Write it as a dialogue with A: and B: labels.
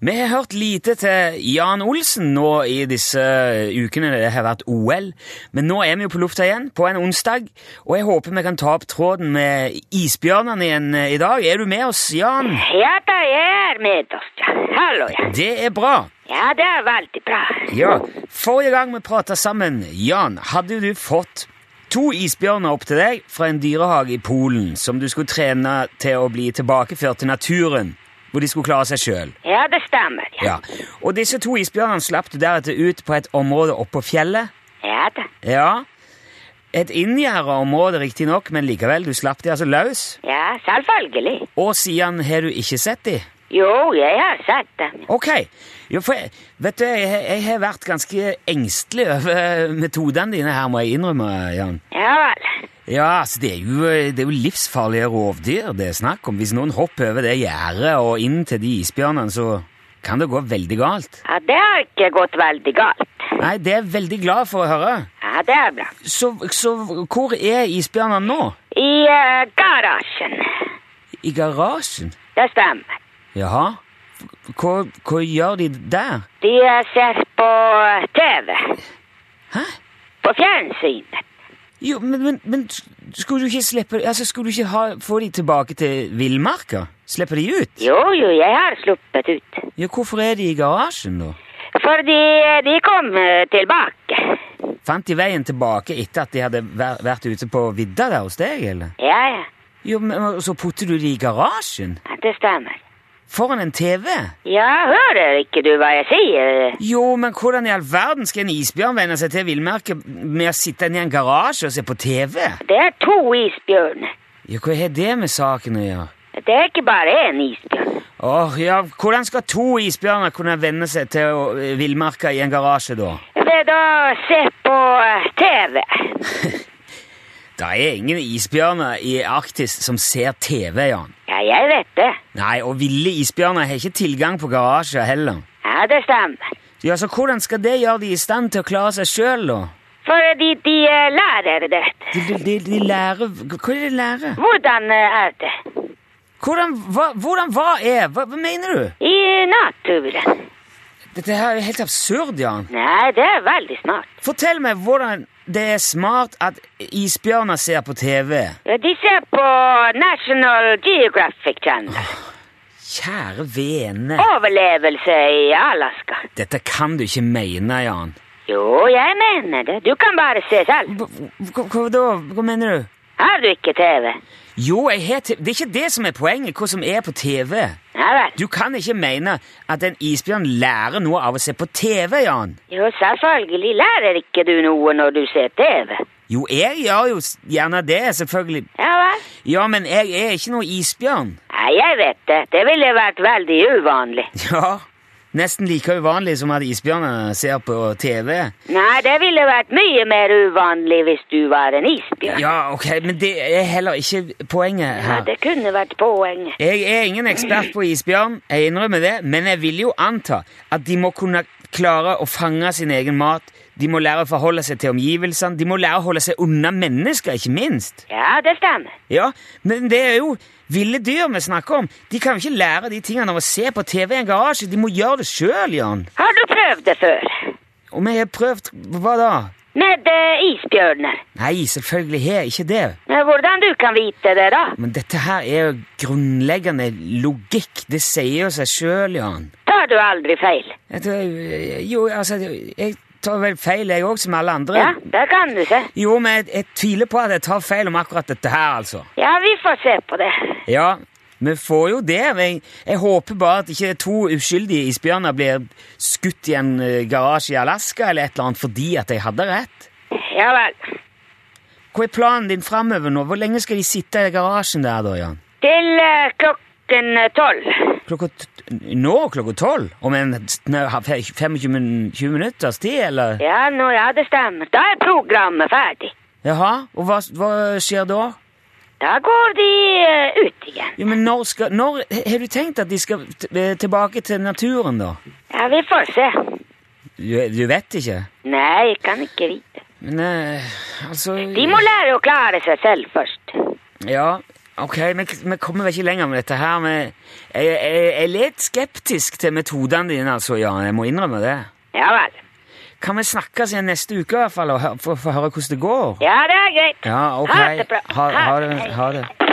A: Vi har hørt lite til Jan Olsen nå i disse ukene det har vært OL, men nå er vi jo på lufta igjen, på en onsdag, og jeg håper vi kan ta opp tråden med isbjørnene igjen eh, i dag. Er du med oss, Jan?
B: Ja da, jeg er med oss, ja. Hallo, ja.
A: Det er bra.
B: Ja, det er veldig bra.
A: Ja, Forrige gang vi prata sammen, Jan, hadde du fått to isbjørner opp til deg fra en dyrehage i Polen som du skulle trene til å bli tilbakeført til naturen, hvor de skulle klare seg sjøl.
B: Ja, det stemmer, ja.
A: Ja. Og disse to isbjørnene slapp du deretter ut på et område oppå fjellet.
B: Ja da,
A: Ja, et inngjerda område riktignok, men likevel, du slapp de altså løs.
B: ja, selvfølgelig.
A: Og siden har du ikke sett de.
B: Jo, jeg har sett dem.
A: Ok, jo, for jeg, vet du, jeg, jeg har vært ganske engstelig over metodene dine her, må jeg innrømme, Jan.
B: Ja vel.
A: Ja, altså det er jo, det er jo livsfarlige rovdyr det er snakk om. Hvis noen hopper over det gjerdet og inn til de isbjørnene, så kan det gå veldig galt.
B: Ja, det har ikke gått veldig galt.
A: Nei, det er jeg veldig glad for å høre.
B: Ja, det er bra.
A: Så, så hvor er isbjørnene nå?
B: I eh, garasjen.
A: I garasjen?
B: Det stemmer.
A: Jaha. Hva, hva gjør de der?
B: De eh, ser på eh, TV.
A: Hæ?
B: På fjernsynet.
A: Jo, men, men, men skulle du ikke slippe Altså, skulle du ikke ha, få de tilbake til villmarka? Slippe de ut?
B: Jo, jo, jeg har sluppet ut.
A: Ja, hvorfor er de i garasjen, da?
B: Fordi de kom eh, tilbake.
A: Fant de veien tilbake etter at de hadde væ- vært ute på vidda der hos deg, eller?
B: Ja, ja.
A: Jo, men men så putter du de i garasjen?
B: ja, Det stemmer.
A: Foran en TV?
B: Ja, hører ikke du hva jeg sier?
A: Jo, men hvordan i all verden skal en isbjørn venne seg til villmarka med å sitte inne i en garasje og se på TV?
B: Det er to isbjørner.
A: Jo, hva har det med saken å gjøre?
B: Det er ikke bare én isbjørn.
A: Åh, ja, hvordan skal to isbjørner kunne venne seg til å- eh, villmarka i en garasje, da?
B: Ved å se på eh, TV.
A: Det er ingen isbjørner i Arktis som ser TV, Jan.
B: Ja, jeg vet det.
A: Nei, og ville isbjørner har ikke tilgang på garasjer heller.
B: Ja, det stemmer.
A: Ja, så hvordan skal det gjøre de i stand til å klare seg sjøl, da?
B: Fordi de eh, lærer det.
A: De, de, de, de lærer Hva er det de lærer?
B: Hvordan eh, er det?
A: Hvordan hva, hvordan, hva er hva, hva mener du?
B: I naturen.
A: Dette her er jo helt absurd, Jan.
B: Nei, det er veldig snart.
A: Fortell meg hvordan det er smart at isbjørner ser på TV.
B: Ja, De ser på National Geographic Channel.
A: Kjære vene.
B: Overlevelse i Alaska.
A: Dette kan du ikke mene, Jan.
B: Jo, jeg mener det. Du kan bare se selv.
A: Hva, hva, hva da? Hva mener du?
B: Har du ikke TV?
A: Jo, jeg har te- det er ikke det som er poenget, hva som er på TV.
B: Ja vel.
A: Du kan ikke mene at en isbjørn lærer noe av å se på TV, Jan.
B: Jo, selvfølgelig lærer ikke du noe når du ser TV.
A: Jo, jeg gjør jo s- gjerne det, selvfølgelig.
B: Ja vel.
A: Ja, men jeg er ikke noe isbjørn.
B: Nei, jeg vet det. Det ville vært veldig uvanlig.
A: Ja, nesten like uvanlig som at isbjørner ser på TV.
B: Nei, det ville vært mye mer uvanlig hvis du var en isbjørn.
A: Ja, ok, men det er heller ikke poenget
B: Ja,
A: her.
B: det kunne vært poenget.
A: Jeg er ingen ekspert på isbjørn, jeg innrømmer det, men jeg vil jo anta at de må kunne klare å fange sin egen mat, de må lære å forholde seg til omgivelsene, de må lære å holde seg unna mennesker, ikke minst.
B: Ja, det stemmer.
A: Ja, Men det er jo ville dyr vi snakker om. De kan jo ikke lære de tingene av å se på TV i en garasje, de må gjøre det sjøl, Jan.
B: Har du prøvd det før?
A: Og vi har prøvd Hva da?
B: Med eh, isbjørner?
A: Nei, selvfølgelig har jeg ikke det.
B: Men Hvordan du kan vite det, da?
A: Men dette her er jo grunnleggende logikk, det sier jo seg sjøl, Jan.
B: Tar du aldri feil?
A: Jeg tror, jo, altså, jeg tar vel feil, jeg òg, som alle andre.
B: Ja, det kan du se.
A: Jo, men jeg, jeg tviler på at jeg tar feil om akkurat dette her, altså.
B: Ja, vi får se på det.
A: Ja, vi får jo det. Men jeg, jeg håper bare at ikke to uskyldige isbjørner blir skutt i en eh, garasje i Alaska eller et eller annet fordi at jeg hadde rett.
B: Ja vel.
A: Hva er planen din framover nå? Hvor lenge skal de sitte i garasjen der, da, Jan?
B: Til eh, klokken tolv.
A: Klokka t nå klokka tolv? Om en snau- 25 min- 20 minutters tid, eller?
B: Ja, nå, ja, det stemmer. Da er programmet ferdig.
A: Jaha, og hva, hva skjer da?
B: Da går de eh, ut igjen.
A: Jo, men når, skal, når Har du tenkt at de skal t eh, tilbake til naturen, da?
B: Ja, vi får se.
A: Du, du vet ikke?
B: Nei, jeg kan ikke vite.
A: Men eh, altså
B: De må lære å klare seg selv først.
A: Ja. Ok, vi, vi kommer vel ikke lenger med dette her. Men jeg, jeg, jeg er litt skeptisk til metodene dine, altså, Jan. Jeg må innrømme det.
B: Ja vel.
A: Kan vi snakkes igjen neste uke i hvert fall, og hø- få få høre hvordan det går?
B: Ja, det er greit.
A: Ja, ok.
B: Ha det bra.
A: Ha, ha det. Ha det.